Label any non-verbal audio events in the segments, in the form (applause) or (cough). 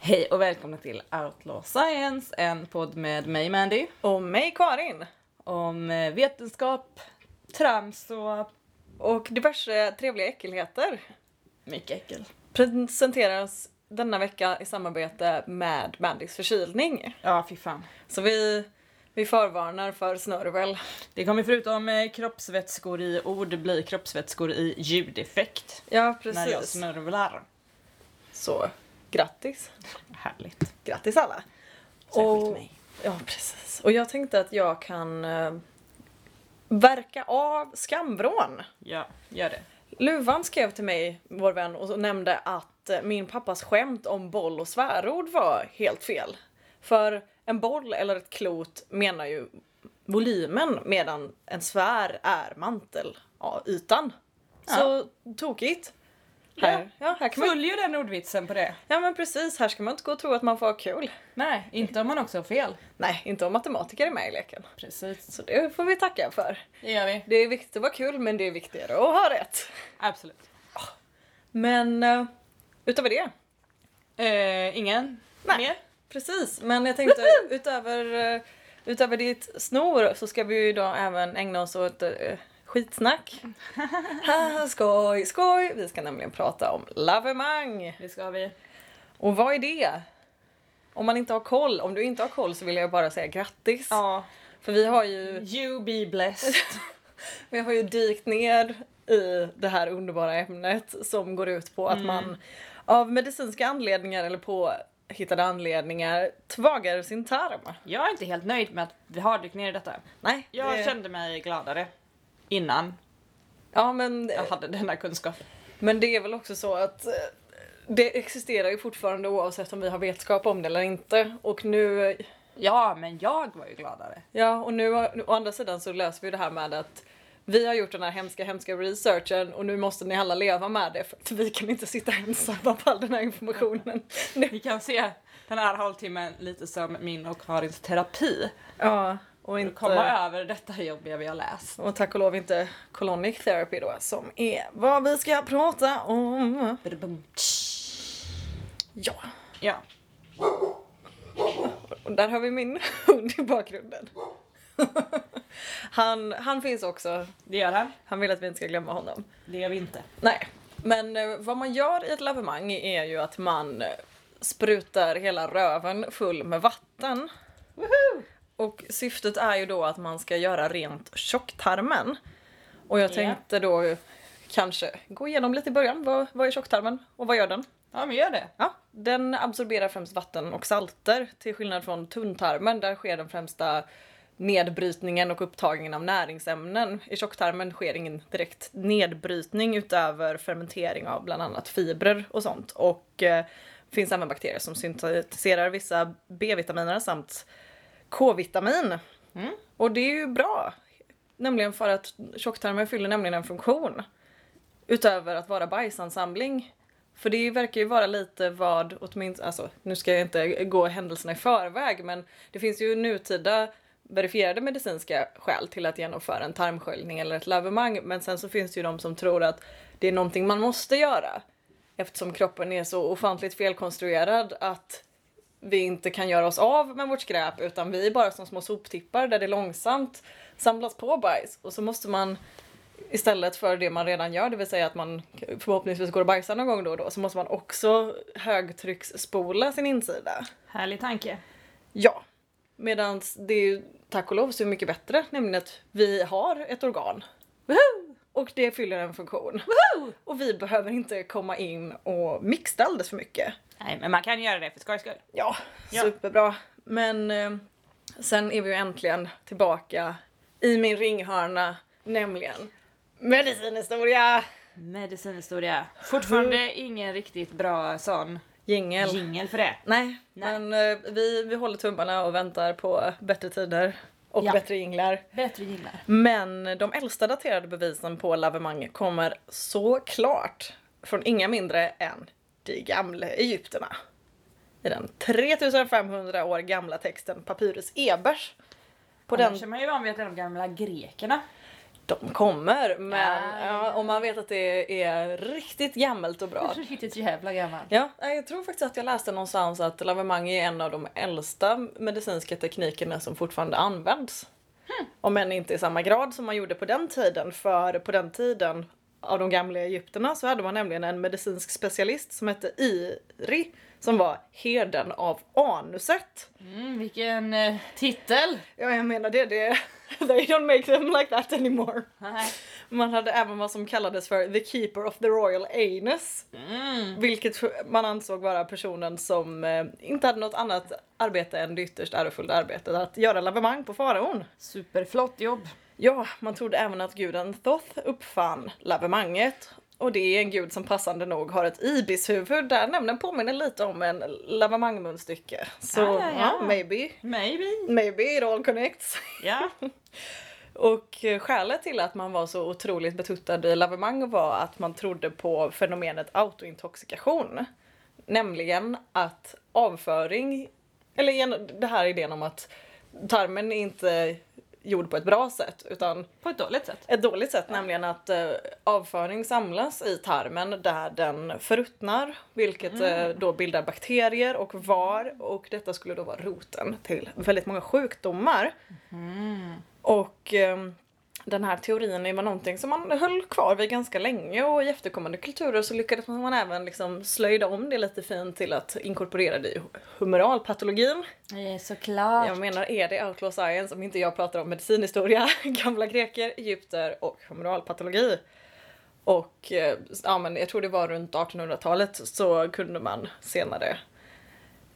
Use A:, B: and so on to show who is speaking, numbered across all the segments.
A: Hej och välkomna till Outlaw Science, en podd med mig Mandy.
B: Och mig Karin.
A: Om eh, vetenskap, trams och
B: Och diverse trevliga äckelheter
A: mycket äckel.
B: presenteras denna vecka i samarbete med Mandys förkylning.
A: Ja, fy fan.
B: Så vi, vi förvarnar för snörvel.
A: Det kommer förutom eh, kroppsvätskor i ord bli kroppsvätskor i ljudeffekt.
B: Ja,
A: När jag
B: precis.
A: smörvlar.
B: Så grattis.
A: Härligt.
B: Grattis alla.
A: Särskilt
B: Och-
A: mig.
B: Ja, precis. Och jag tänkte att jag kan eh, verka av skamvrån.
A: Ja, gör det.
B: Luvan skrev till mig, vår vän, och nämnde att eh, min pappas skämt om boll och svärord var helt fel. För en boll eller ett klot menar ju volymen medan en svär är mantel, ja, ytan. Så tokigt.
A: Ja.
B: Här, ja, här kan man,
A: Följ ju den ordvitsen på det.
B: ja men precis, här ska man inte gå och tro att man får ha kul.
A: Nej, inte om man också har fel.
B: Nej, inte om matematiker är med i leken.
A: Precis.
B: Så det får vi tacka för.
A: Det gör vi.
B: Det är viktigt att vara kul men det är viktigare att ha rätt.
A: Absolut.
B: Men eh, utöver det
A: Eh, ingen?
B: Nej.
A: Mer?
B: Precis, men jag tänkte utöver, eh, utöver ditt snor så ska vi ju idag även ägna oss åt eh,
A: (laughs)
B: skitsnack. Haha, skoj, skoj! Vi ska nämligen prata om lavemang.
A: Det ska vi.
B: Och vad är det? Om man inte har koll, om du inte har koll så vill jag bara säga grattis.
A: Ja.
B: För vi har ju,
A: You be blessed.
B: vi har ju dykt ner i det här underbara ämnet som går ut på att
A: Mm.
B: man av medicinska anledningar eller påhittade anledningar tvagar sin tarm.
A: (laughs) Jag är inte helt nöjd med att vi har dykt ner i detta.
B: Nej,
A: Jag
B: det-
A: kände mig gladare innan
B: Ja men,
A: jag hade denna kunskap.
B: men det är väl också så att eh, det existerar ju fortfarande oavsett om vi har vetskap om det eller inte. Och nu,
A: Ja, men jag var ju gladare.
B: ja och nu å andra sidan så löser vi det här med att vi har gjort den här hemska hemska researchen och nu måste ni alla leva med det för att vi kan inte sitta ensamma på all den här informationen. Nu.
A: Ni kan se den här halvtimmen lite som min och Karins terapi.
B: Ja, och
A: Komma
B: inte...
A: över detta jobbiga vi har läst.
B: Och tack och lov inte colonic therapy då som är vad vi ska prata om.
A: Brum, tsch.
B: Ja,
A: Ja,
B: Och där har vi min hund i bakgrunden. (laughs) Han, han finns också.
A: det gör han.
B: Han vill att vi inte ska glömma honom.
A: Det gör vi inte.
B: Nej, men eh, vad man gör i ett lavemang är ju att man eh, sprutar hela röven full med vatten. Och syftet är ju då att man ska göra rent tjocktarmen. Och jag
A: Ja.
B: tänkte då kanske gå igenom lite i början. Vad, vad är tjocktarmen och vad gör den?
A: Ja, men gör det.
B: Ja, den absorberar främst vatten och salter till skillnad från tunntarmen. Där sker den främsta nedbrytningen och upptagningen av näringsämnen. I tjocktarmen sker ingen direkt nedbrytning utöver fermentering av bland annat fibrer och sånt. Och eh, finns även bakterier som syntetiserar vissa B-vitaminer samt K-vitamin.
A: Mm.
B: Och det är ju bra. Nämligen för att tjocktarmen fyller nämligen en funktion. Utöver att vara bajsansamling. För det verkar ju vara lite vad, åtminstone, alltså nu ska jag inte gå händelserna i förväg men det finns ju nutida verifierade medicinska skäl till att genomföra en tarmsköljning eller ett lavemang men sen så finns det ju de som tror att det är någonting man måste göra eftersom kroppen är så ofantligt felkonstruerad att vi inte kan göra oss av med vårt skräp utan vi är bara som små soptippar där det långsamt samlas på bajs och så måste man istället för det man redan gör, det vill säga att man förhoppningsvis går och bajsar någon gång då och då, så måste man också högtrycksspola sin insida.
A: Härlig tanke.
B: Ja. Medan det är ju tack och lov så mycket bättre, nämligen att vi har ett organ.
A: Woho!
B: Och det fyller en funktion. Och vi behöver inte komma in och mixa alldeles för mycket.
A: Nej, men man kan göra det för skojs skull.
B: Ja,
A: Ja.
B: superbra. Men eh, sen är vi ju äntligen tillbaka i min ringhörna, nämligen medicinhistoria!
A: Medicinhistoria. Fortfarande ingen riktigt bra sån
B: Jingel.
A: jingel för det.
B: Nej,
A: Nej.
B: men eh, vi, vi håller tummarna och väntar på bättre tider och
A: Ja.
B: bättre jinglar.
A: Bättre jinglar.
B: Men de äldsta daterade bevisen på lavemang kommer såklart från inga mindre än de gamla egyptierna. I den 3500 år gamla texten Papyrus Ebers. På
A: På den...
B: den,
A: Annars är man ju van vid att det är de gamla grekerna.
B: De kommer, men
C: Ja,
B: ja,
C: ja, ja.
B: om man vet att det är riktigt gammalt och bra.
C: Riktigt jävla gammal.
B: Ja, nej, jag tror faktiskt att jag läste någonstans att lavemang är en av de äldsta medicinska teknikerna som fortfarande används. Om än inte i samma grad som man gjorde på den tiden, för på den tiden av de gamla egyptierna så hade man nämligen en medicinsk specialist som hette Iri som var herden av anuset.
C: Mm, vilken eh, titel!
B: Ja, jag menar det, det (laughs) they don't make them like that anymore.
C: Nej.
B: Man hade även vad som kallades för the keeper of the royal anus.
A: Mm.
B: Vilket man ansåg vara personen som eh, inte hade något annat arbete än det ytterst ärofulla arbetet att göra lavemang på faraon.
C: Superflott jobb.
B: Ja, man trodde även att guden Thoth uppfann lavemanget. Och det är en gud som passande nog har ett ibishuvud där nämligen påminner lite om en lavemangmunstycke. Så
A: Ja, ja, ja.
B: ja, maybe,
A: Maybe.
B: maybe it all connects.
A: Ja.
B: Och eh, skälet till att man var så otroligt betuttad i lavemang var att man trodde på fenomenet autointoxikation. Nämligen att avföring, eller gen- det här idén om att tarmen är inte gjord på ett bra sätt utan
A: På ett dåligt sätt.
B: ett dåligt sätt, nämligen att eh, avföring samlas i tarmen där den förruttnar, vilket eh, då bildar bakterier och var och detta skulle då vara roten till väldigt många sjukdomar. Och ehm, den här teorin var någonting som man höll kvar vid ganska länge och i efterkommande kulturer så lyckades man även liksom slöjda om det lite fint till att inkorporera det i humoralpatologin.
C: Eh, Såklart.
B: Jag menar, är det outlaw science om inte jag pratar om medicinhistoria, (laughs) gamla greker, egypter och humoralpatologi? Och eh, ja, men jag tror det var runt 1800-talet så kunde man senare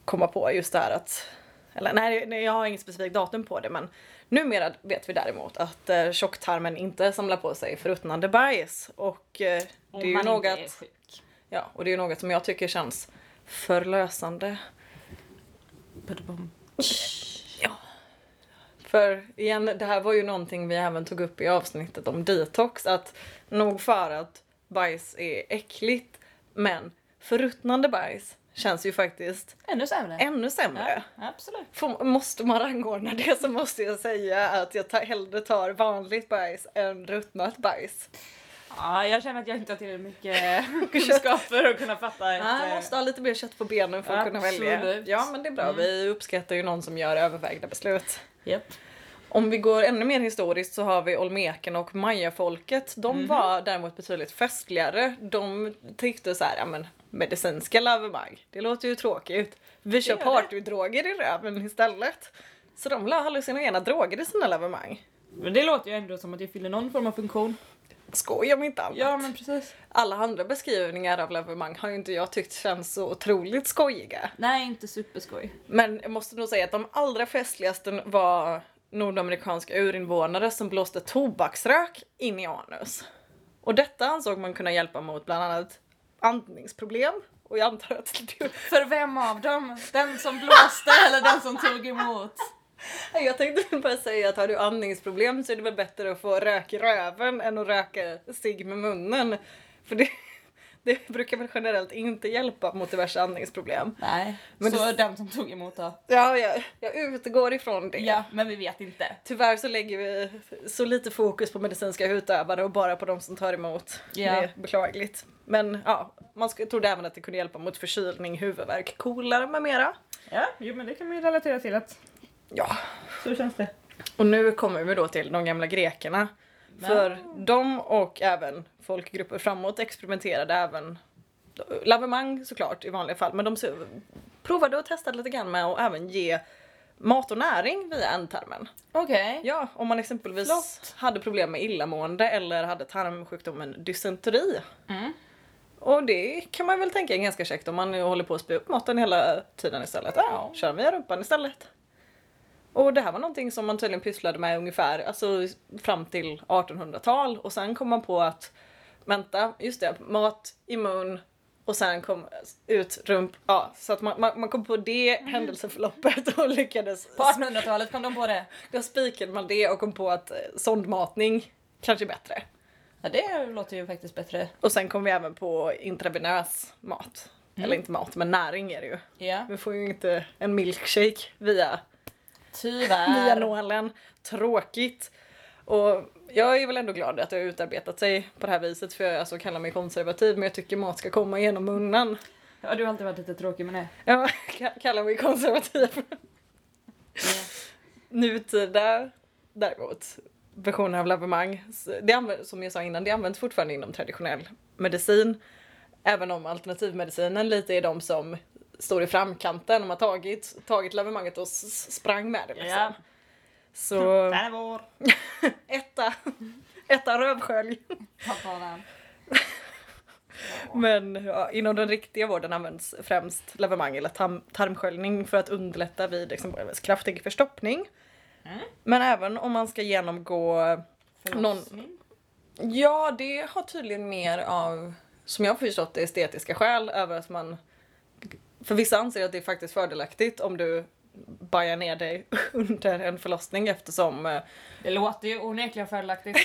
B: komma på just det här att eller nej, nej, jag har inget specifikt datum på det men numera vet vi däremot att eh, tjocktarmen inte samlar på sig förruttnande bajs och eh, det är ju något
A: sjuk.
B: Ja, och det är ju något som jag tycker känns förlösande. Ja. För igen, det här var ju någonting vi även tog upp i avsnittet om detox. Att nog för att bajs är äckligt, men förruttnande bajs känns ju faktiskt
C: Ännu sämre.
B: ännu sämre.
A: Absolut.
B: Får, måste man rangordna det så måste jag säga att jag ta, hellre tar vanligt bajs än ruttnat bajs.
A: Ja, jag känner att jag inte har tillräckligt mycket kunskap för att kunna fatta ett...
B: Man
A: eh,
B: måste ha lite mer kött på benen för att kunna välja.
A: Absolut.
B: Ja men det är bra, vi uppskattar ju någon som gör övervägda beslut.
A: Japp.
B: Om vi går ännu mer historiskt så har vi olmekerna och mayafolket. De
A: Mhm.
B: var däremot betydligt festligare. De tyckte så här, ja men medicinska lavemang, det låter ju tråkigt. Vi kör
A: gör det.
B: partydroger i röven istället. Så de la hallucinogena droger i sina lavemang.
A: Men det låter ju ändå som att jag fyller någon form av funktion.
B: Skoj om inte annat.
A: Ja, men precis.
B: Alla andra beskrivningar av lavemang har ju inte jag tyckt känns så otroligt skojiga.
A: Nej, inte superskoj.
B: Men jag måste nog säga att de allra festligaste var nordamerikanska urinvånare som blåste tobaksrök in i anus. Och detta ansåg man kunna hjälpa mot bland annat andningsproblem. Och jag antar att du...
C: För vem av dem? Den som blåste eller den som tog emot?
B: Nej, Jag tänkte (laughs) bara säga att har du andningsproblem så är det väl bättre att få rök i röven än att röka cigg med munnen. För det, (laughs) det brukar väl generellt inte hjälpa mot diverse andningsproblem.
A: Nej.
B: Men
A: så
B: det-
A: den som tog emot då?
B: Ja, jag, jag utgår ifrån det.
A: Ja, men vi vet inte.
B: Tyvärr så lägger vi så lite fokus på medicinska utövare och bara på de som tar emot.
A: Ja.
B: Det är beklagligt. Men ja, man sk- trodde även att det kunde hjälpa mot förkylning, huvudvärk, kolera med mera.
A: Ja, jo, men det kan man ju relatera till att
B: Ja.
A: så känns det.
B: Och nu kommer vi då till de gamla grekerna. För de och även folkgrupper framåt experimenterade även lavemang såklart i vanliga fall men de s- provade och testade lite grann med att även ge mat och näring via ändtarmen.
C: Okej.
B: Ja, om man exempelvis
C: Flott.
B: hade problem med illamående eller hade tarmsjukdomen dysenteri.
A: Mm.
B: Och det kan man väl tänka är ganska käckt om man håller på att spy upp maten hela tiden istället. Ja, kör via rumpan istället. Och det här var någonting som man tydligen pysslade med ungefär alltså, fram till 1800-tal och sen kom man på att vänta, just det, mat i mun och sen kom ut rump, ja så att man, man, man kom på det händelseförloppet och lyckades
C: På 1800-talet kom de på det.
B: då spikade man det och kom på att eh, sondmatning kanske är bättre.
C: Ja, det låter ju faktiskt bättre.
B: Och sen kom vi även på intravenös mat. Eller inte mat, men näring är det ju.
C: Ja.
B: Vi får ju inte en milkshake via,
A: (laughs)
C: Tyvärr.
B: via nålen. Tråkigt. Och jag är väl ändå glad att det har utarbetat sig på det här viset för jag alltså, kallar mig konservativ men jag tycker mat ska komma genom munnen.
A: Ja, du har alltid varit lite tråkig med det.
B: Jag (laughs) ka- kallar mig konservativ. Nutida däremot, versionen av lavemang, s- det används, som jag sa innan, det används fortfarande inom traditionell medicin. Även om alternativmedicinen lite är de som står i framkanten, de har tagit, tagit lavemanget och s- s- sprang med det liksom.
A: Ja. (laughs)
B: Så
A: Den är vår!
B: etta, etta rövskölj.
C: Ta bara den.
B: Men ja, inom den riktiga vården används främst lavemang eller tam- tarmsköljning för att underlätta vid exempelvis kraftig förstoppning.
C: Mm.
B: Men även om man ska genomgå
C: Förlossning.
B: Ja, det har tydligen mer av, som jag har förstått det, estetiska skäl över att man... För vissa anser att det är faktiskt fördelaktigt om du bajar ner dig (laughs) under en förlossning eftersom... eh,
C: Det låter ju onekligen
A: (laughs)
C: fördelaktigt.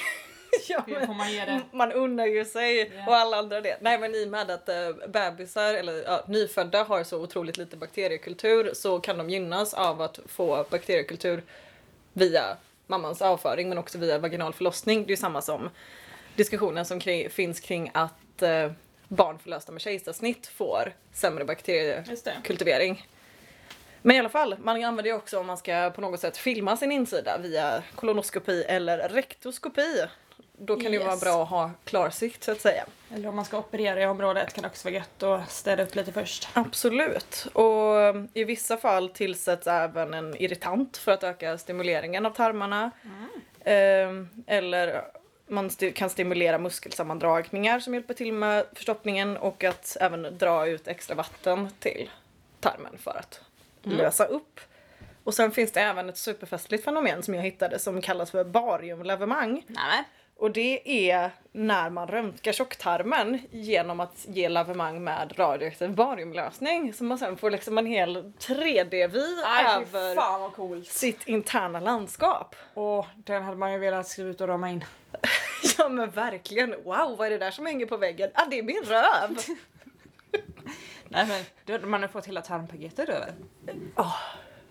B: Ja,
C: Det får man ge det.
B: Mm, man unnar ju sig
C: Ja.
B: och alla andra det. Nej men i och med att eh, bebisar eller ja, nyfödda har så otroligt lite bakteriekultur så kan de gynnas av att få bakteriekultur via mammans avföring men också via vaginal förlossning. Det är ju samma som diskussionen som kring, finns kring att eh, barn förlösta med kejsarsnitt får sämre bakterier
C: Just det.
B: kultivering. Men i alla fall, man använder ju också om man ska på något sätt filma sin insida via kolonoskopi eller rektoskopi. Då kan det ju vara
C: Yes.
B: bra att ha klarsikt så att säga.
A: Eller om man ska operera i området kan det också vara gött att städa upp lite först.
B: Absolut. Och um, i vissa fall tillsätts även en irritant för att öka stimuleringen av tarmarna. Ehm, Eller man sti- kan stimulera muskelsammandragningar som hjälper till med förstoppningen och att även dra ut extra vatten till tarmen för att lösa upp. Och sen finns det även ett superfestligt fenomen som jag hittade som kallas för bariumlavemang.
C: Nej.
B: Och det är när man röntgar tjocktarmen genom att ge lavemang med radioaktiv bariumlösning. Så man sen får liksom en hel 3D-vy
A: Aj, fy
B: över
A: fan vad coolt!
B: sitt interna landskap. (laughs)
A: Åh, den hade man ju velat skriva ut och rama in.
B: Ja men verkligen, wow vad är det där som hänger på väggen? Ah det är min röv!
A: Nej men, då hade man har fått hela tarmpaketet över.
B: Ja,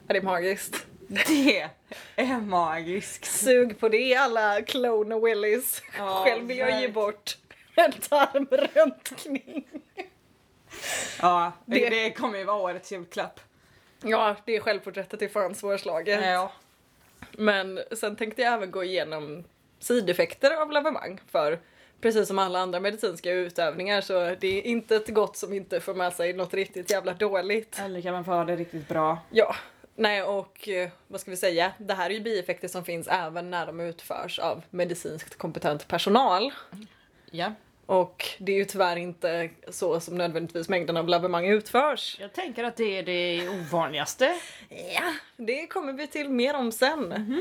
B: det är magiskt.
A: Det är magiskt!
B: Sug på det alla clone willies.
A: Ja,
B: Själv vill jag ge
A: verkligen.
B: bort en tarmröntgning.
A: Ja,
B: Det-
A: det, det kommer ju vara årets julklapp.
B: Ja, det är självporträttet i fan svårslaget.
A: Ja.
B: Men sen tänkte jag även gå igenom sideffekter av lavemang. För precis som alla andra medicinska utövningar så det är inte ett gott som inte för med sig något riktigt jävla dåligt.
A: Eller kan man få ha det riktigt bra.
B: Ja. Nej och eh, vad ska vi säga, det här är ju bieffekter som finns även när de utförs av medicinskt kompetent personal.
A: Ja.
B: Och det är ju tyvärr inte så som nödvändigtvis mängden av lavemang utförs.
A: Jag tänker att det är det ovanligaste.
B: Ja, det kommer vi till mer om sen.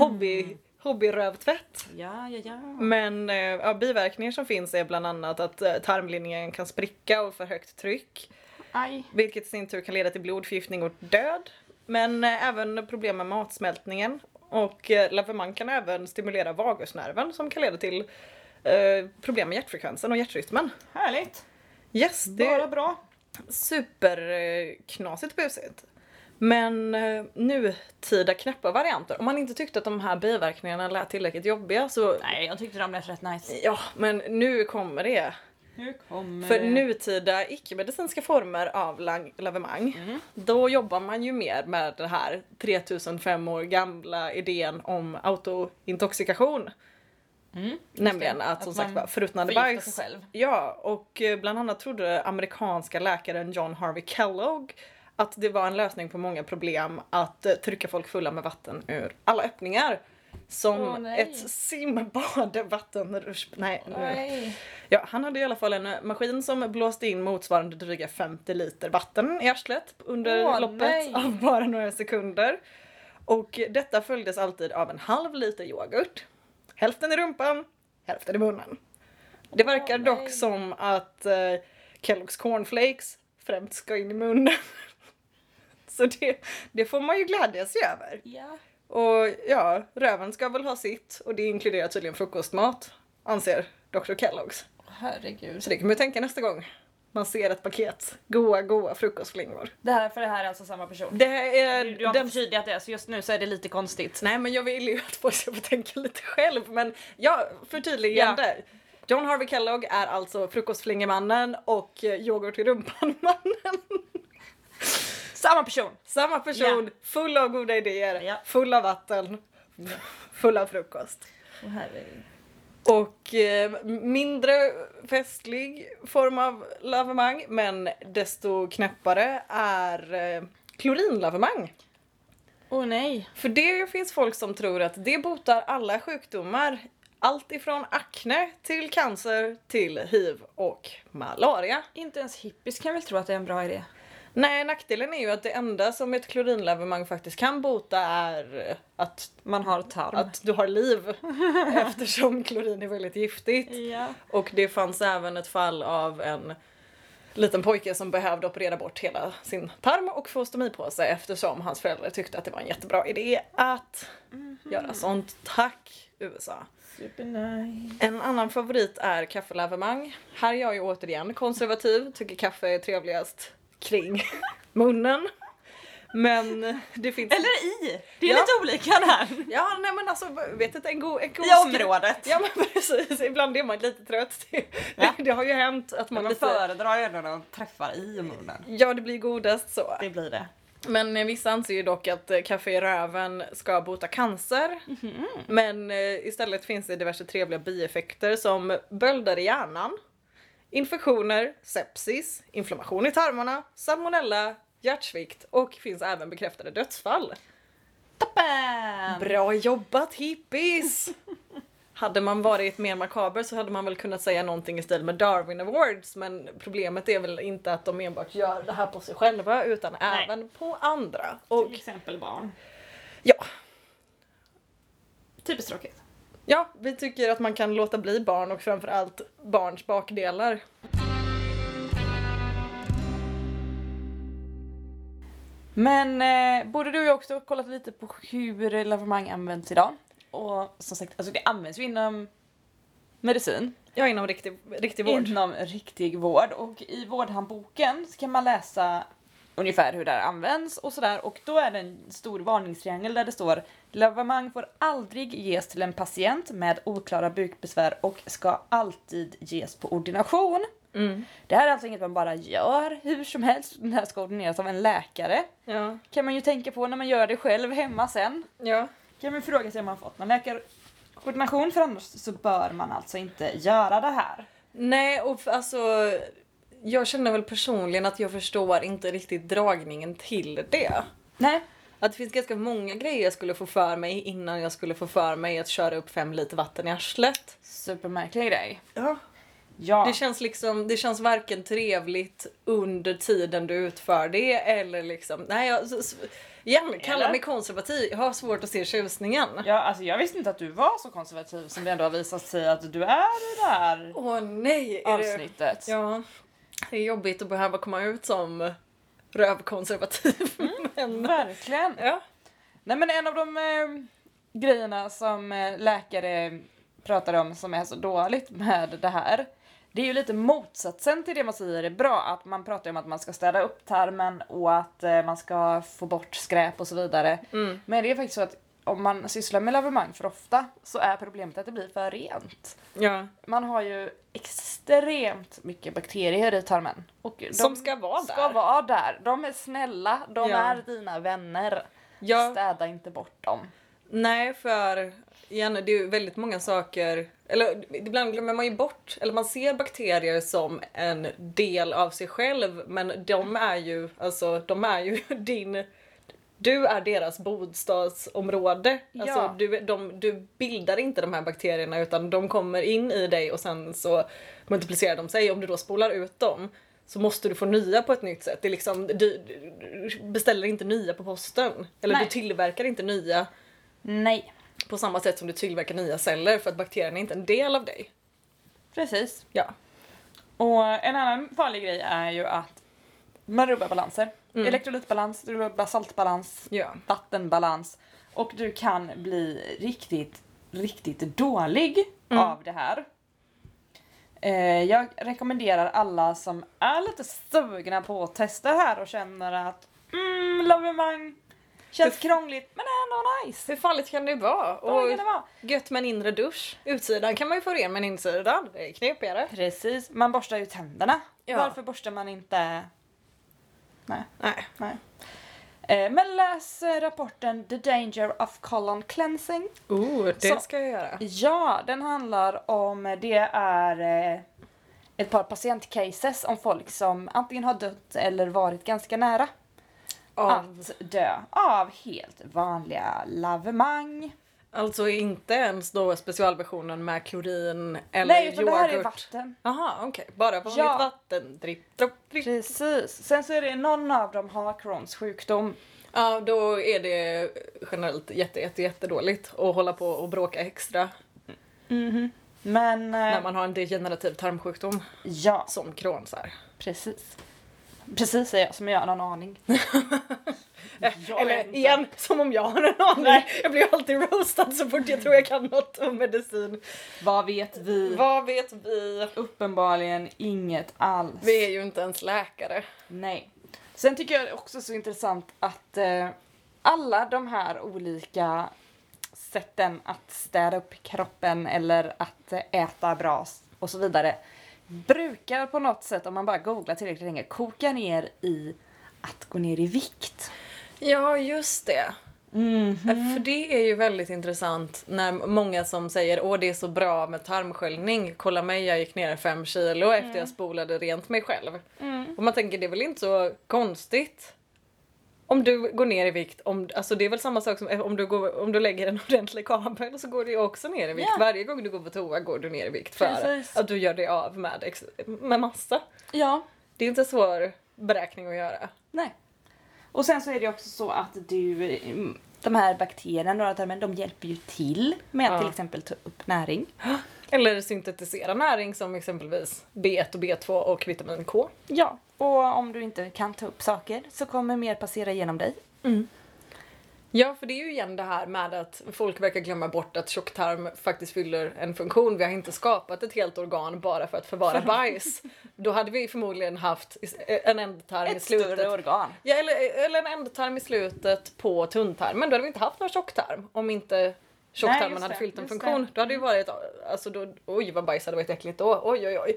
B: Hobby, hobbyrövtvätt.
A: Ja, ja, ja.
B: Men eh, ja, biverkningar som finns är bland annat att eh, tarmlinjen kan spricka av för högt tryck.
A: Aj.
B: Vilket i sin tur kan leda till blodförgiftning och död. Men eh, även problem med matsmältningen. Och eh, lavemang kan även stimulera vagusnerven som kan leda till eh, problem med hjärtfrekvensen och hjärtrytmen.
A: Härligt.
B: Yes, det
A: Bara
B: är
A: bra.
B: superknasigt och busigt. Men eh, nutida knäppa varianter. Om man inte tyckte att de här biverkningarna lät tillräckligt jobbiga så
A: Nej, jag tyckte de lät rätt nice.
B: Ja, men nu kommer det.
A: Nu kommer
B: För
A: det.
B: nutida icke-medicinska former av lang- lavemang,
A: Mm.
B: då jobbar man ju mer med den här 3005 år gamla idén om autointoxikation.
A: Mm,
B: Nämligen
A: det.
B: att
A: Att
B: som
A: man
B: sagt var förruttnande
A: förgiftar sig
B: bajs.
A: själv.
B: Ja, och eh, bland annat trodde amerikanska läkaren John Harvey Kellogg att det var en lösning på många problem att eh, trycka folk fulla med vatten ur alla öppningar. Som
C: Åh, nej.
B: ett simbad (laughs) vattenrutsch... Nej, nu.
C: Nej.
B: Ja, han hade i alla fall en eh, maskin som blåste in motsvarande dryga 50 liter vatten i arslet under
C: Åh,
B: loppet
C: nej.
B: av bara några sekunder. Och detta följdes alltid av en halv liter yoghurt. Hälften i rumpan, hälften i munnen. Det verkar
C: Åh,
B: dock
C: nej.
B: som att eh, Kellogg's cornflakes främst ska in i munnen. (laughs) Så det, det får man ju glädja sig över.
C: Ja.
B: Och ja, röven ska väl ha sitt och det inkluderar tydligen frukostmat, anser Dr. Kellogg's.
C: Herregud.
B: Så det kan man ju tänka nästa gång. man ser ett paket goa, goa frukostflingor.
A: Det här, för det här är alltså samma person.
B: Det här är
A: Du, du har
B: den
A: inte förtydligat det, så just nu så är det lite konstigt.
B: Nej men jag vill ju att folk ska få tänka lite själv men ja, förtydligande. John Harvey Kellogg är alltså frukostflingemannen och eh, yoghurt i rumpan-mannen.
A: Samma person!
B: Samma person, full av goda idéer,
A: Ja.
B: full av vatten, full av frukost.
A: Åh, herregud.
B: Och eh, mindre festlig form av lavemang men desto knäppare är eh, klorinlavemang.
A: Åh, nej.
B: För det finns folk som tror att det botar alla sjukdomar. Allt ifrån akne till cancer till hiv och malaria.
A: Inte ens hippies kan väl tro att det är en bra idé?
B: Nej, nackdelen är ju att det enda som ett klorinlavemang faktiskt kan bota är att,
A: Man har tarm.
B: att du har liv. eftersom klorin är väldigt giftigt.
A: Ja.
B: Och det fanns även ett fall av en liten pojke som behövde operera bort hela sin tarm och få stomi på sig eftersom hans föräldrar tyckte att det var en jättebra idé att
A: Mhm.
B: göra sånt. Tack USA!
A: Supernice.
B: En annan favorit är kaffelavemang. Här är jag ju återigen konservativ, tycker kaffe är trevligast
A: (laughs)
B: kring munnen. Men det finns...
A: Eller i! Det är
B: Ja.
A: lite olika där.
B: Ja, nej men alltså vet du, en god... En god
A: I området.
B: Ja men precis, ibland är man lite trött. Det,
A: Ja.
B: (laughs) det har ju hänt att man...
A: Man
B: inte-
A: föredrar ju ändå när de träffar i munnen.
B: Ja, det blir godast så.
A: Det blir det.
B: Men eh, vissa anser ju dock att eh, kaffe i röven ska bota cancer. Men eh, istället finns det diverse trevliga bieffekter som bölder i hjärnan, infektioner, sepsis, inflammation i tarmarna, salmonella, hjärtsvikt och finns även bekräftade dödsfall.
A: Toppen!
B: Bra jobbat hippies! (laughs) Hade man varit mer makaber så hade man väl kunnat säga någonting i stil med Darwin Awards men problemet är väl inte att de enbart gör det här på sig själva utan
A: Nej.
B: även på andra. Och
A: Till exempel barn.
B: ja,
A: Typiskt tråkigt.
B: ja, vi tycker att man kan låta bli barn och framförallt barns bakdelar.
A: Men eh, både du och jag också har kollat lite på hur lavemang används idag. Och som sagt, alltså det används ju inom medicin,
B: Ja, inom riktig, riktig vård.
A: inom riktig vård och i vårdhandboken så kan man läsa ungefär hur det här används och sådär och då är det en stor varningstriangel där det står Lavemang får aldrig ges till en patient med oklara bukbesvär och ska alltid ges på ordination.
B: Mm.
A: Det här är alltså inget man bara gör hur som helst, den här ska ordineras av en läkare
B: Ja.
A: kan man ju tänka på när man gör det själv hemma sen.
B: ja.
A: Kan man fråga sig om man fått någon läkarordination för annars så bör man alltså inte göra det här.
B: Nej, och f- alltså jag känner väl personligen att jag förstår inte riktigt dragningen till det.
A: Nej.
B: Att det finns ganska många grejer jag skulle få för mig innan jag skulle få för mig att köra upp fem liter vatten i arslet.
A: Supermärklig grej.
B: Ja.
A: Ja.
B: Det känns liksom, det känns varken trevligt under tiden du utför det eller liksom, nej jag, s- s- igen, kalla
A: Eller?
B: mig konservativ, jag har svårt att se tjusningen.
A: ja, alltså jag visste inte att du var så konservativ som det ändå har visat sig att du är i det här
B: Åh nej! Är det,
A: avsnittet.
B: ja, det är jobbigt att behöva komma ut som rövkonservativ. (laughs) men,
A: Verkligen.
B: Mm. ja.
A: Nej men en av de eh, grejerna som eh, läkare pratar om som är så dåligt med det här. Det är ju lite motsatsen till det man säger är bra, att man pratar om att man ska städa upp tarmen och att eh, man ska få bort skräp och så vidare.
B: Mm.
A: Men det är faktiskt så att om man sysslar med lavemang för ofta så är problemet att det blir för rent.
B: ja.
A: Man har ju extremt mycket bakterier i tarmen. Och de
B: Som ska vara där.
A: Ska vara där. De är snälla, de
B: Ja.
A: är dina vänner.
B: Ja.
A: Städa inte bort dem.
B: Nej, för igen, det är ju väldigt många saker, eller ibland glömmer man ju bort, eller man ser bakterier som en del av sig själv, men de är ju, alltså de är ju (laughs) din, du är deras bostadsområde. Alltså
A: Ja.
B: du, de, du bildar inte de här bakterierna utan de kommer in i dig och sen så multiplicerar de sig. Om du då spolar ut dem så måste du få nya på ett nytt sätt. Det är liksom, du, du du beställer inte nya på posten. Eller
A: Nej.
B: du tillverkar inte nya
A: Nej.
B: på samma sätt som du tillverkar nya celler för att bakterierna är inte en del av dig.
A: Precis.
B: Ja.
A: Och en annan farlig grej är ju att man rubbar balanser. Elektrolytbalans, du rubbar saltbalans,
B: Ja.
A: vattenbalans. Och du kan Mm. bli riktigt, riktigt dålig av det här. Eh, jag rekommenderar alla som är lite sugna på att testa det här och känner att mm, lavemang känns krångligt men är ändå nice.
B: Hur farligt kan det vara?
A: Vad
B: Och
A: kan det vara?
B: gött med en inre dusch. Utsidan kan man ju få ren men insidan, det är knepigare.
A: Precis, man borstar ju tänderna.
B: Ja.
A: Varför borstar man inte?
B: Nej.
A: Eh, men läs eh, rapporten The Danger of Colon Cleansing.
B: Oh, det
A: Så-
B: ska jag göra.
A: Ja, den handlar om, eh, det är eh, ett par patientcases om folk som antingen har dött eller varit ganska nära
B: Av,
A: att dö av helt vanliga lavemang.
B: alltså inte ens då specialversionen med klorin eller
A: Nej, utan
B: yoghurt.
A: det här är vatten.
B: Aha, okej. Bara vanligt
A: Ja.
B: vatten. Dripp, dropp, dripp.
A: Precis. Sen så är det någon av dem har Crohns sjukdom.
B: Ja, då är det generellt jätte, jätte, jättedåligt att hålla på och bråka extra
A: Men... eh,
B: Mhm. när man har en degenerativ tarmsjukdom
A: Ja,
B: som Crohns är.
A: precis. Precis säger jag som jag har någon
B: (laughs)
A: aning. Jag
B: Eller
A: vet inte.
B: igen, som om jag har en aning.
A: Nej.
B: Jag blir ju alltid roastad så fort jag tror jag kan något om medicin.
A: Vad vet vi?
B: Vad vet vi?
A: Uppenbarligen inget alls.
B: Vi är ju inte ens läkare.
A: Nej. Sen tycker jag också så intressant att eh, alla de här olika sätten att städa upp kroppen eller att eh, äta bra s- och så vidare brukar på något sätt, om man bara googlar tillräckligt länge, koka ner i att gå ner i vikt.
B: Ja, just det.
A: Mhm.
B: Äh, För det är ju väldigt intressant när många som säger åh det är så bra med tarmsköljning. Kolla mig, jag gick ner 5 kilo
A: Mm.
B: efter jag spolade rent mig själv. Och man tänker det är väl inte så konstigt. Om du går ner i vikt, om, alltså det är väl samma sak som eh, om du, går, om du lägger en (laughs) ordentlig kabel så går du ju också ner i vikt.
A: Ja.
B: Varje gång du går på toa går du ner i vikt för
A: Precis.
B: att du gör dig av med, ex- med massa.
A: Ja.
B: Det är inte svår beräkning att göra.
A: Nej. Och sen så är det också så att du, mm, de här bakterierna, då, de hjälper ju till med att
B: Ja.
A: till exempel ta upp näring.
B: Eller syntetisera näring som exempelvis B1 och B2 och vitamin K.
A: Ja, och om du inte kan ta upp saker så kommer mer passera genom dig.
B: Ja, för det är ju igen det här med att folk verkar glömma bort att tjocktarm faktiskt fyller en funktion. Vi har inte skapat ett helt organ bara för att (laughs) förvara bajs. Då hade vi förmodligen haft is- en ändtarm i
A: Ett större
B: slutet.
A: organ.
B: Ja, eller, eller en ändtarm i slutet på tunntarmen. Då hade vi inte haft någon tjocktarm om inte
A: Nej,
B: tjocktarmen
A: just
B: hade
A: det, Mm.
B: fyllt en
A: just
B: funktion.
A: det.
B: Då hade det ju varit, alltså då, oj vad bajs hade varit äckligt då, oj oj oj.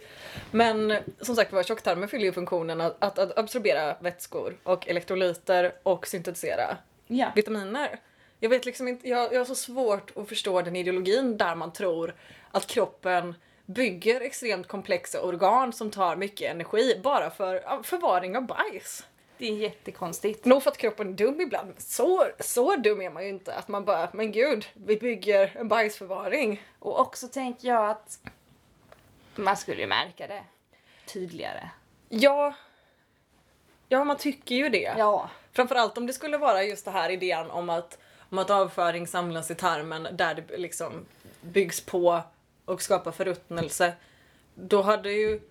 B: Men som sagt var, tjocktarmen fyller ju funktionen att, att, att absorbera vätskor och elektrolyter och syntetisera
A: Ja.
B: vitaminer. Jag vet liksom inte, jag, jag har så svårt att förstå den ideologin där man tror att kroppen bygger extremt komplexa organ som tar mycket energi bara för ja, förvaring av bajs.
A: Det är jättekonstigt.
B: Nog för att kroppen är dum ibland, men så, så dum är man ju inte att man bara, men gud, vi bygger en bajsförvaring.
A: Och också tänker jag att man skulle ju märka det tydligare.
B: Ja, ja man tycker ju det.
A: Ja.
B: Framförallt om det skulle vara just det här idén om att, om att avföring samlas i tarmen där det liksom byggs på och skapar förruttnelse. Då hade ju...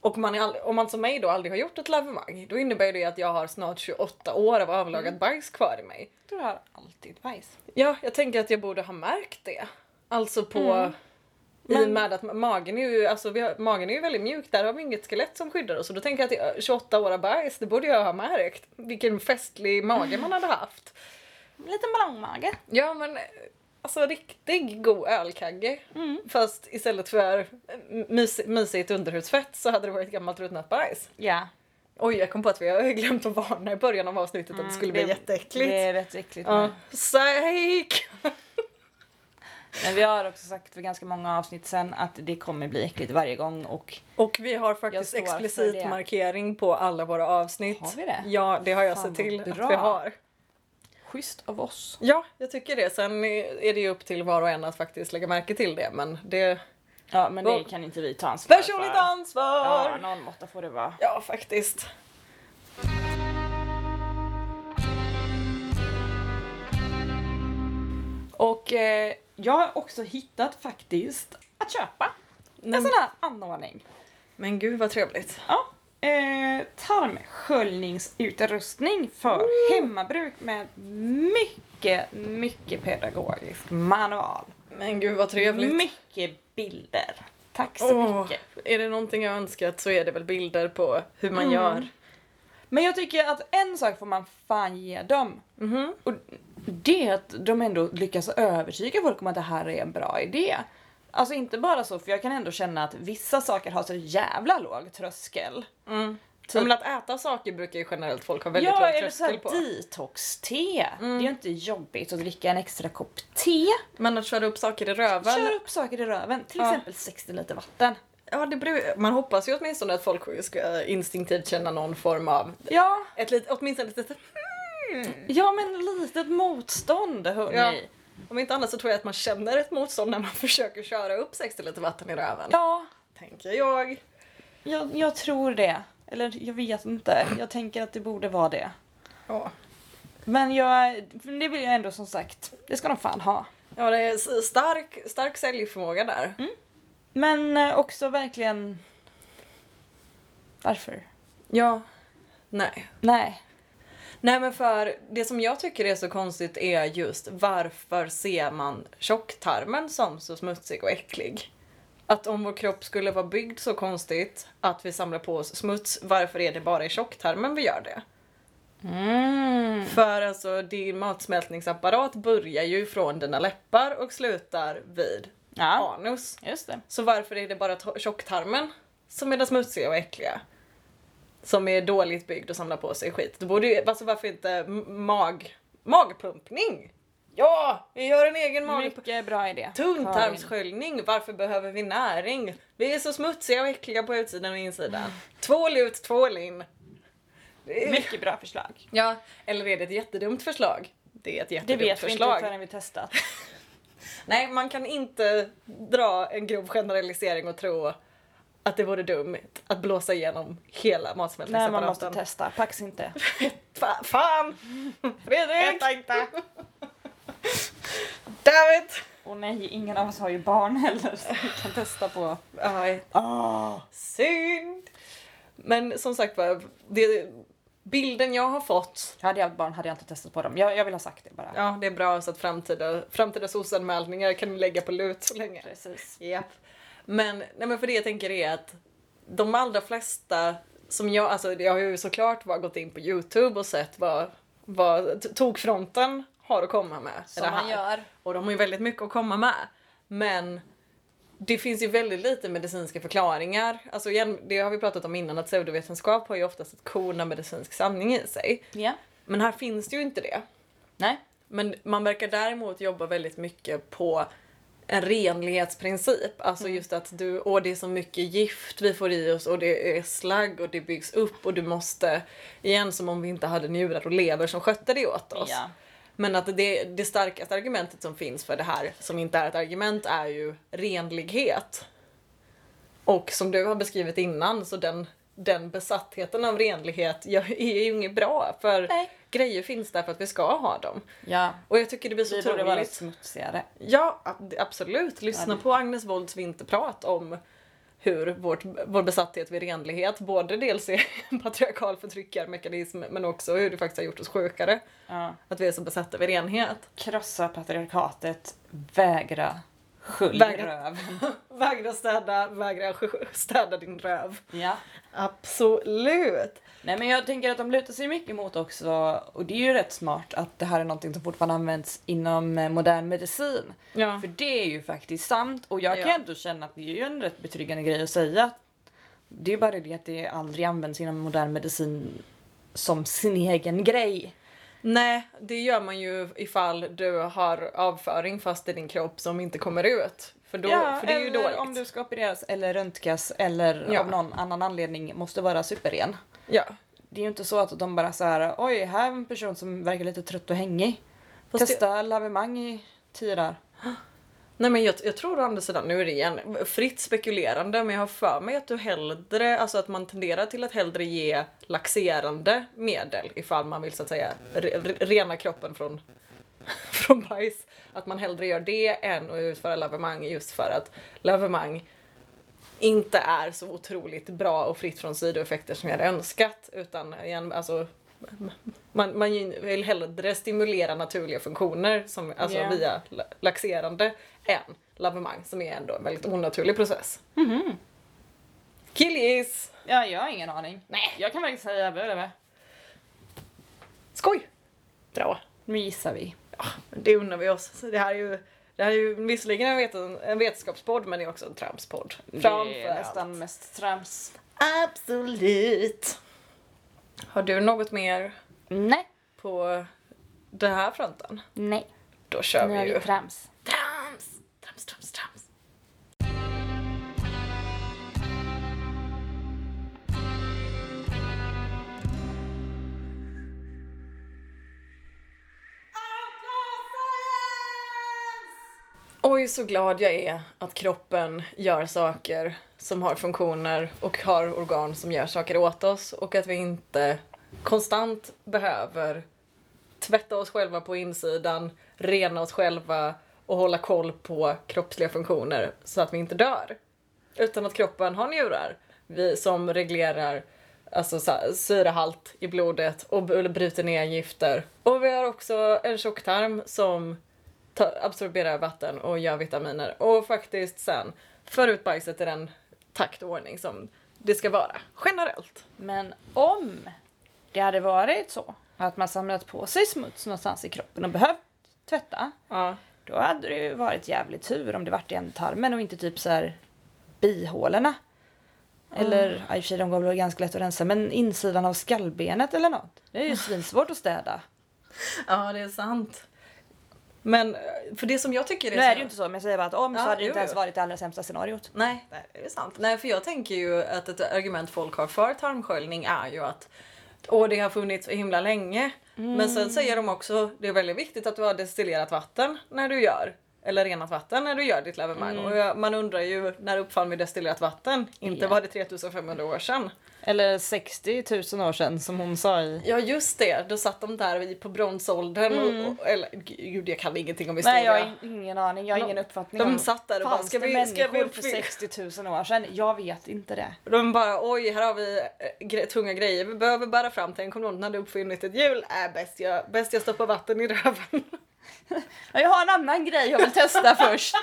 B: Och man är all, om man som mig då aldrig har gjort ett lavemang, då innebär det att jag har snart 28 år av avlagat bajs kvar i mig.
A: Du har alltid bajs.
B: Ja, jag tänker att jag borde ha märkt det. Alltså på... I och
A: Men-
B: med att magen är ju, alltså vi har, magen är ju väldigt mjuk, där har vi inget skelett som skyddar oss. Och då tänker jag att i 28 år av bajs, det borde jag ha märkt. Vilken festlig mage man hade haft.
A: En liten ballongmage.
B: Ja men, eh, alltså riktig god ölkagge. Fast istället för eh, mys, mysigt underhudsfett så hade det varit gammalt ruttnat bajs.
A: Ja.
B: Oj, jag kom på att vi har (laughs) glömt att varna i början av avsnittet att Mm, det skulle bli jätteäckligt.
A: Det är rätt äckligt.
B: Ja. Psyk!
A: Men vi har också sagt för ganska många avsnitt sen att det kommer bli äckligt varje gång och
B: Och vi har
A: Jag
B: faktiskt
A: står för
B: explicit
A: det.
B: markering på alla våra avsnitt.
A: Har vi det?
B: Ja, det har jag
A: Fan,
B: sett
A: vad
B: till
A: bra.
B: att vi har.
A: schysst av oss.
B: Ja, jag tycker det. Sen är det ju upp till var och en att faktiskt lägga märke till det, men det...
A: Ja men det kan inte vi ta ansvar
B: Personligt
A: för. Ja,
B: ansvar!
A: någon måtta får det vara.
B: Ja, faktiskt.
A: Och eh, jag har också hittat faktiskt att köpa en sån här anordning.
B: Men gud vad trevligt.
A: Mm. Ja. Eh, tarmsköljningsutrustning för hemmabruk med mycket, mycket pedagogisk manual.
B: Men gud vad trevligt.
A: Mycket bilder. Tack så
B: Mm. Åh,
A: mycket.
B: är det någonting jag önskat så är det väl bilder på hur man
A: Mm.
B: gör.
A: Men jag tycker att en sak får man fan ge dem.
B: Mhm.
A: Det är att de ändå lyckas övertyga folk om att det här är en bra idé. Alltså inte bara så, för jag kan ändå känna att vissa saker har så jävla låg tröskel.
B: Mm.
A: Typ-
B: Ja, men att äta saker brbrukar ju generellt folk ha väldigt
A: ja,
B: låg
A: eller så
B: tröskel
A: här
B: på.
A: detox-te.
B: Mm.
A: Det är ju inte jobbigt att dricka en extra kopp te.
B: Men att köra upp saker i röven.
A: Kör upp saker i röven, till
B: Ja.
A: exempel 60 liter vatten.
B: Ja, det bru- man hoppas ju åtminstone att folk ska instinktivt känna någon form av...
A: Ja,
B: Ett lit- åtminstone ett litet... hmm.
A: ja men litet motstånd
B: Ja.
A: hörni.
B: Om inte annat så tror jag att man känner ett motstånd när man (laughs) försöker köra upp 60 liter vatten i röven.
A: Ja,
B: Tänker jag.
A: jag, jag tror det. Eller jag vet inte. Jag tänker att det borde vara det.
B: Ja.
A: Men jag, det vill jag ändå som sagt, det ska de fan ha.
B: Ja, det är s- stark, stark säljförmåga där.
A: Men eh, också verkligen... Varför?
B: Ja. Nej.
A: Nej.
B: Nej men för det som jag tycker är så konstigt är just varför ser man tjocktarmen som så smutsig och äcklig? Att om vår kropp skulle vara byggd så konstigt att vi samlar på oss smuts, varför är det bara i tjocktarmen vi gör det?
A: Mm.
B: För alltså din matsmältningsapparat börjar ju från dina läppar och slutar vid
A: Ja,
B: anus.
A: just det.
B: Så varför är det bara to- tjocktarmen som är den smutsiga och äckliga? Som är dåligt byggd och samlar på sig skit. Då borde ju, alltså varför inte m- mag, magpumpning? Ja, vi gör en egen mag...
A: Mycket bra idé.
B: Tunntarmssköljning, varför behöver vi näring? Vi är så smutsiga och äckliga på utsidan
A: (laughs)
B: och insidan. Tvål ut, tvål in. Det
A: Karin.
B: är,
A: Mycket bra förslag.
B: ja, eller är det ett jättedumt förslag? Det är ett
A: Det
B: jättedumt
A: vet vi
B: förslag.
A: inte förrän vi testat.
B: Nej, man kan inte dra en grov generalisering och tro att det vore dumt att blåsa igenom hela
A: Nej,
B: matsmältningsapparaten.
A: man måste testa. Pax (laughs) inte.
B: Fa- fan! Fredrik!
A: Äta inte!
B: Damn it!
A: Och nej, ingen av oss har ju barn heller så vi kan testa på.
B: Aj,
A: Oh.
B: synd! Men som sagt var, det, bilden jag har fått,
A: Hade jag haft barn hade jag inte testat på dem. Jag, jag vill ha sagt det bara.
B: ja det är bra så att framtida, framtida soc-anmälningar kan ni lägga på lut så länge.
A: Precis.
B: Japp. Men, nej men för det jag tänker är att de allra flesta som jag, alltså jag har ju såklart bara gått in på Youtube och sett vad, vad t- tokfronten har att komma med. i det här.
A: gör.
B: Och de har ju väldigt mycket att komma med. Men det finns ju väldigt lite medicinska förklaringar. Alltså igen, det har vi pratat om innan att pseudovetenskap har ju oftast ett korn av medicinsk sanning i sig.
A: Ja.
B: Men här finns det ju inte det.
A: Nej.
B: Men man verkar däremot jobba väldigt mycket på en renlighetsprincip. Alltså
A: Mm.
B: just att du, och det är så mycket gift vi får i oss och det är slagg och det byggs upp och du måste, igen som om vi inte hade njurar och lever som skötte det åt oss.
A: Ja.
B: Men att det, det starkaste argumentet som finns för det här, som inte är ett argument, är ju renlighet. Och som du har beskrivit innan, så den, den besattheten av renlighet (laughs) gör- är ju inget bra. För
A: Nej.
B: grejer finns där för att vi ska ha dem.
A: Ja.
B: Och jag tycker det blir så
A: Vi borde vara
B: otroligt.
A: smutsigare.
B: Ja, ab- absolut. Lyssna på Agnes Wolds vinterprat om hur vårt, vår besatthet vid renlighet både dels är en (laughs) patriarkal förtryckarmekanism men också hur det faktiskt har gjort oss sjukare.
A: Ja.
B: Att vi är så besatta vid renhet.
A: Krossa patriarkatet, vägra skölj
B: Vägra.
A: röven.
B: Vägra städa, vägra (laughs) sj- städa din röv.
A: Ja.
B: Absolut!
A: Nej men jag tänker att de lutar sig mycket mot också, och det är ju rätt smart, att det här är någonting som fortfarande används inom eh, modern medicin.
B: Ja.
A: För det är ju faktiskt sant och jag kan
B: Ja.
A: ändå känna att det är ju en rätt betryggande grej att säga. Det är bara det att det aldrig används inom modern medicin som sin egen grej.
B: Nej, det gör man ju ifall du har avföring fast i din kropp som inte kommer ut. För, då, för det är ju
A: eller
B: dåligt.
A: om du ska opereras eller röntgas eller
B: Ja.
A: av någon annan anledning måste vara superren.
B: Ja.
A: Det är ju inte så att de bara så här, oj här är en person som verkar lite trött och hängig.
B: Fast
A: Testa lavemang i tio dagar.
B: Nej men jag, jag tror å andra sidan, nu är det igen fritt spekulerande men jag har för mig att du hellre, alltså att man tenderar till att hellre ge laxerande medel ifall man vill så att säga re, re, rena kroppen från, (laughs) från bajs. Att man hellre gör det än att utföra lavemang just för att lavemang inte är så otroligt bra och fritt från sidoeffekter som jag hade önskat utan igen alltså man, man vill hellre stimulera naturliga funktioner som, alltså
A: Ja.
B: via la- laxerande än lavemang som är ändå en väldigt onaturlig process. Killis!
A: Ja, jag har ingen aning. Nej. Jag kan verkligen säga blablabla.
B: Skoj! Bra.
A: Nu gissar vi.
B: Ah, Det unnar vi oss. Så det här är ju, det här är ju visserligen en, vet- en vetenskapspodd men det är också en tramspodd.
A: det
B: Framför
A: är
B: allt.
A: nästan mest trams.
B: Absolut! Har du något mer
A: Nej.
B: på den här fronten?
A: Nej.
B: Då kör
A: Nu är
B: vi
A: vi
B: ju.
A: trams.
B: Trams! Trams, trams, trams. Oj, så glad jag är att kroppen gör saker som har funktioner och har organ som gör saker åt oss och att vi inte konstant behöver tvätta oss själva på insidan, rena oss själva och hålla koll på kroppsliga funktioner så att vi inte dör. Utan att kroppen har njurar vi, som reglerar alltså, så här, syrehalt i blodet och b- bryter ner gifter. Och vi har också en tjocktarm som ta- absorberar vatten och gör vitaminer. Och faktiskt sen för ut bajset i den takt och ordning som det ska vara generellt.
A: Men om det hade varit så att man samlat på sig smuts någonstans i kroppen och behövt tvätta.
B: Ja.
A: Då hade det ju varit jävligt tur om det varit i ändtarmen och inte typ så här bihålorna. Eller, ja, i och för sig de går väl ganska lätt att rensa, men insidan av skallbenet eller något. Det är ju svinsvårt att städa.
B: Ja, det är sant. Men eh, för det som jag tycker är...
A: Nu är
B: så-
A: det ju inte så, men jag säger bara att om
B: Ja,
A: så hade det
B: jo,
A: inte ens
B: jo.
A: varit det allra sämsta scenariot.
B: Nej, nej, det är sant. Nej, för jag tänker ju att ett argument folk har för tarmsköljning är ju att Åh, det har funnits så himla länge. Men sen säger de också det är väldigt viktigt att du har destillerat vatten när du gör eller renat vatten när du gör ditt lavemang. Och jag, man undrar ju när uppfann vi destillerat vatten? Inte
A: Ja.
B: var det 3500 år sedan.
A: Eller 60 000 år sedan som hon sa i...
B: Ja just det, då satt de där i- på bronsåldern och, och eller gud Mm. jag Mm. kan ingenting om historia.
A: Nej jag har ingen aning, jag har ingen uppfattning
B: de satt där och bara,
A: Fanns
B: "Ska
A: det
B: vi- ska vi
A: människor för
B: uppfinna-"
A: 60 000 år sedan? Jag vet inte det.
B: De bara oj här har vi eh, gre- tunga grejer vi behöver bära fram till en kommer någon hade uppfunnit ett hjul? Äh, bäst, jag, bäst jag stoppar vatten i röven. (laughs)
A: Men jag har en annan grej jag vill (laughs) testa först.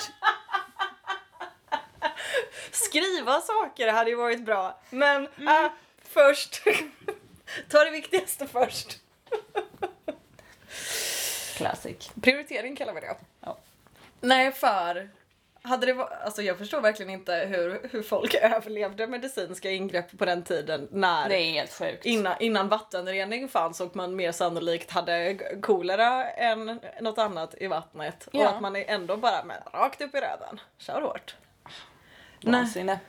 B: Skriva saker hade ju varit bra men äh, först. (laughs) Ta det viktigaste först.
A: Classic.
B: Prioritering kallar vi det.
A: Ja.
B: Nej för hade det var, alltså jag förstår verkligen inte hur, hur folk (laughs) överlevde medicinska ingrepp på den tiden när
A: Det är helt sjukt.
B: Innan, innan vattenrening fanns och man mer sannolikt hade g- kolera än något annat i vattnet.
A: Ja.
B: Och att man är ändå bara men, rakt upp i röven. Kör hårt.
A: Vansinne.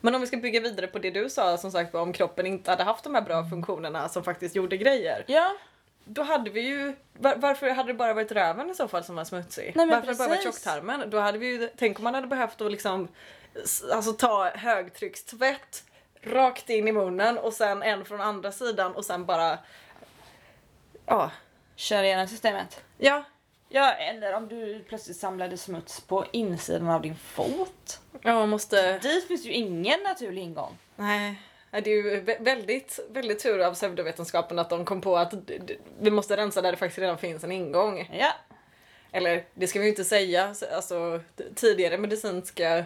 B: Men om vi ska bygga vidare på det du sa som sagt om kroppen inte hade haft de här bra funktionerna som faktiskt gjorde grejer.
A: Ja,
B: Då hade vi ju, var, varför hade det bara varit röven i så fall som var smutsig?
A: Nej, men
B: varför hade det bara varit
A: precis.
B: tjocktarmen? Då hade vi ju, tänk om man hade behövt att liksom, s- alltså ta högtryckstvätt rakt in i munnen och sen en från andra sidan och sen bara, ja.
A: kör igenom systemet.
B: Ja,
A: Ja, eller om du plötsligt samlade smuts på insidan av din fot.
B: ja man måste,
A: Dit finns ju ingen naturlig ingång.
B: nej. Ja, Det är ju vä- väldigt, väldigt tur av pseudovetenskapen att de kom på att d- d- vi måste rensa där det faktiskt redan finns en ingång.
A: Ja,
B: Eller det ska vi ju inte säga, så- alltså t- tidigare medicinska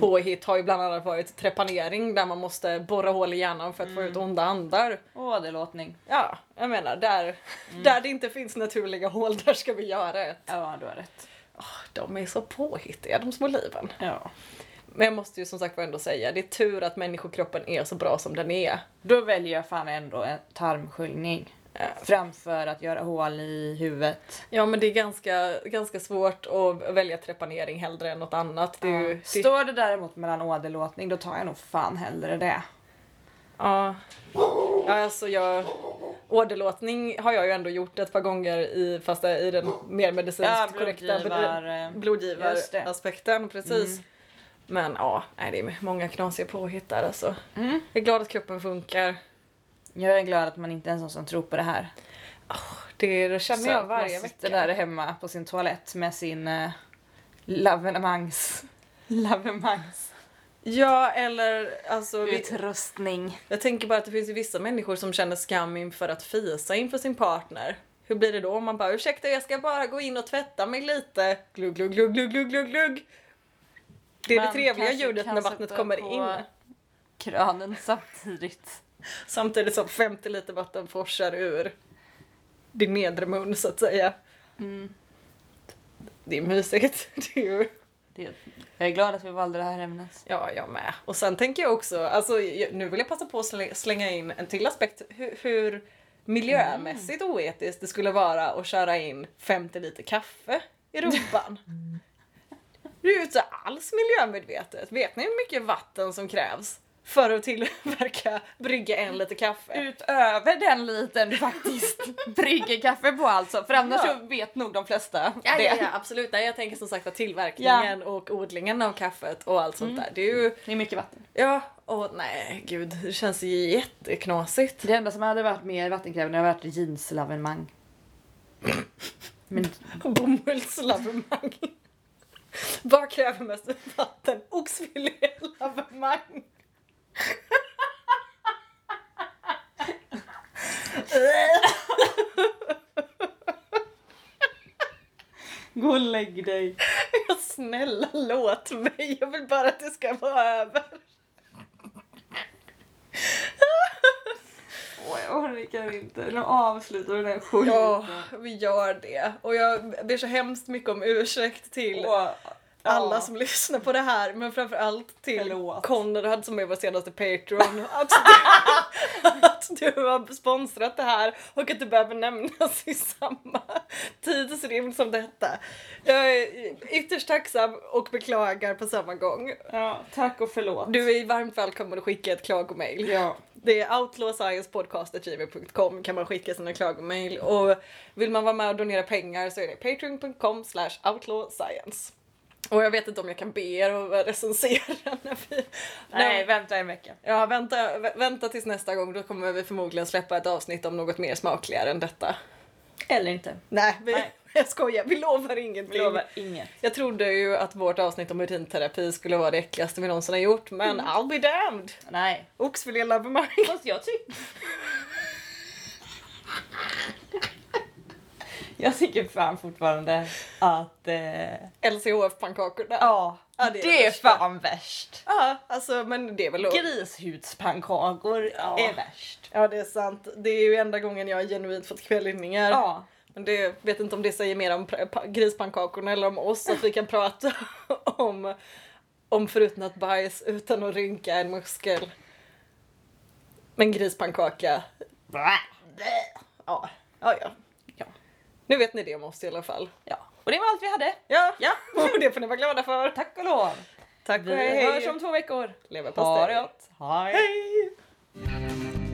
B: påhitt har ju bland annat varit trepanering där man måste borra hål i hjärnan för att få ut onda andar.
A: åderlåtning.
B: Ja, jag menar där, där det inte finns naturliga hål, där ska vi göra ett.
A: Ja, du har rätt.
B: De är så påhittiga de små liven.
A: Ja.
B: Men jag måste ju som sagt var ändå säga, det är tur att människokroppen är så bra som den är.
A: Då väljer jag fan ändå en tarmsköljning. eh,
B: Ja.
A: Framför att göra hål i huvudet.
B: Ja men det är ganska, ganska svårt att välja trepanering hellre än något annat. Det är ju, det,
A: Står det däremot mellan åderlåtning då tar jag nog fan hellre det.
B: Ja. ja alltså jag... Åderlåtning har jag ju ändå gjort ett par gånger i, fast det är i den mer medicinskt
A: Ja,
B: korrekta
A: blodgivar,
B: bedri-
A: eh, just det. Mm.
B: blodgivaraspekten. Precis. Men ja, nej, det är många knasiga påhitt där alltså.
A: Mm.
B: Jag är glad att kroppen funkar.
A: Jag är glad att man inte är en sån som tror på det här.
B: Det, det känner
A: Så
B: jag
A: att man
B: varje vecka.
A: sitter där hemma på sin toalett med sin eh, lavemangs... Lavemangs.
B: Ja, eller alltså... vi-
C: Utrustning.
B: Jag tänker bara att det finns ju vissa människor som känner skam inför att fisa inför sin partner. Hur blir det då om man bara ursäkta jag ska bara gå in och tvätta mig lite. Glugg, glugg, glugg, glugg, glugg, glugg, glugg. Det är
C: Man
B: det trevliga
C: kanske
B: ljudet
C: kan
B: när vattnet
C: sätta
B: kommer
C: på-
B: in.
C: Kranen samtidigt.
B: Samtidigt som 50 liter vatten forsar ur din nedre mun så att säga.
C: Mm.
B: Det är mysigt. (laughs) Det är ju...
C: Det, jag är glad att vi valde det här ämnet.
B: Ja, jag med. Och sen tänker jag också, alltså, jag- nu vill jag passa på att slä- slänga in en till aspekt. Hur, hur miljömässigt oetiskt det skulle vara att köra in 50 liter kaffe i (laughs) rumpan. Det är ju inte alls miljömedvetet. Vet ni hur mycket vatten som krävs för att tillverka, brygga en liter kaffe?
A: Utöver den liten du faktiskt
B: (laughs)
A: brygger kaffe på alltså, för annars
B: Ja.
A: så vet nog de flesta
B: Ja,
A: det.
B: ja, ja, absolut. Nej, jag tänker som sagt att tillverkningen och odlingen av kaffet och allt sånt där. Det är ju,
A: Det är mycket vatten.
B: ja, och nej gud, det känns ju jätteknasigt.
A: Det enda som hade varit mer vattenkrävande hade varit jeanslavemang. Men
B: Bomullslavemang. Vad kräver mest vatten? Oxfilélavemang.
C: Gå och lägg dig.
B: Snälla låt mig, jag vill bara att det ska vara över.
C: Åh, jag orkar inte. Nu avslutar vi den skiten.
B: Ja, vi gör det. Och jag ber så hemskt mycket om ursäkt till
C: Åh,
B: alla
C: ja.
B: som lyssnar på det här, men framförallt till
C: Förlåt.
B: Konrad som är vår senaste Patreon. (laughs) Att du, att du har sponsrat det här och att du behöver nämnas i samma tidsrymd som detta. Jag är ytterst tacksam och beklagar på samma gång.
C: Ja, tack och förlåt.
B: Du är varmt välkommen att skicka ett klagomail.
C: Ja.
B: Det är outlawsciencepodcast.gmail.com kan man skicka sina klagomail och vill man vara med och donera pengar så är det patreon.com slash outlawscience. Och jag vet inte om jag kan be er att recensera när vi...
C: Nej,
B: när,
C: vänta en vecka.
B: ja, vänta, vä- vänta tills nästa gång, då kommer vi förmodligen släppa ett avsnitt om något mer smakligare än detta.
A: Eller inte.
B: Nej, vi,
C: Nej.
B: (laughs) jag skojar, vi lovar ingenting.
C: Vi lovar inget.
B: Jag trodde ju att vårt avsnitt om urinterapi skulle vara det äckligaste vi någonsin har gjort,
C: Mm.
B: men I'll be damned!
A: Nej.
B: Oxfilé-lavemang! (laughs)
A: Fast jag tycker...
C: (laughs) Jag tycker fan fortfarande att... Eh,
B: LCHF-pannkakorna.
C: ja,
B: Ja, det
C: det,
B: är
C: är,
B: det värsta.
C: fan värst.
B: Ja, alltså men det är väl...
C: Grishudspannkakor
B: Ja.
C: är värst.
B: Ja, det är sant. Det är ju enda gången jag genuint fått kvällningar.
C: Ja.
B: Men det vet inte om det säger mer om pra- pa- grispannkakorna eller om oss, att vi kan prata (laughs) om, om förutnat bajs utan att rynka en muskel. Men grispannkaka, ja. Ja, ja. ja. Nu vet ni det om oss i alla fall.
C: ja. Och det var allt vi hade.
B: Ja,
C: Ja,
B: och (laughs) det får ni vara glada för.
C: tack och lov.
B: Tack och
C: Vi
B: hej.
C: hörs om två veckor.
B: Leverpastej.
C: Ha det gott. Hej.
B: Hej!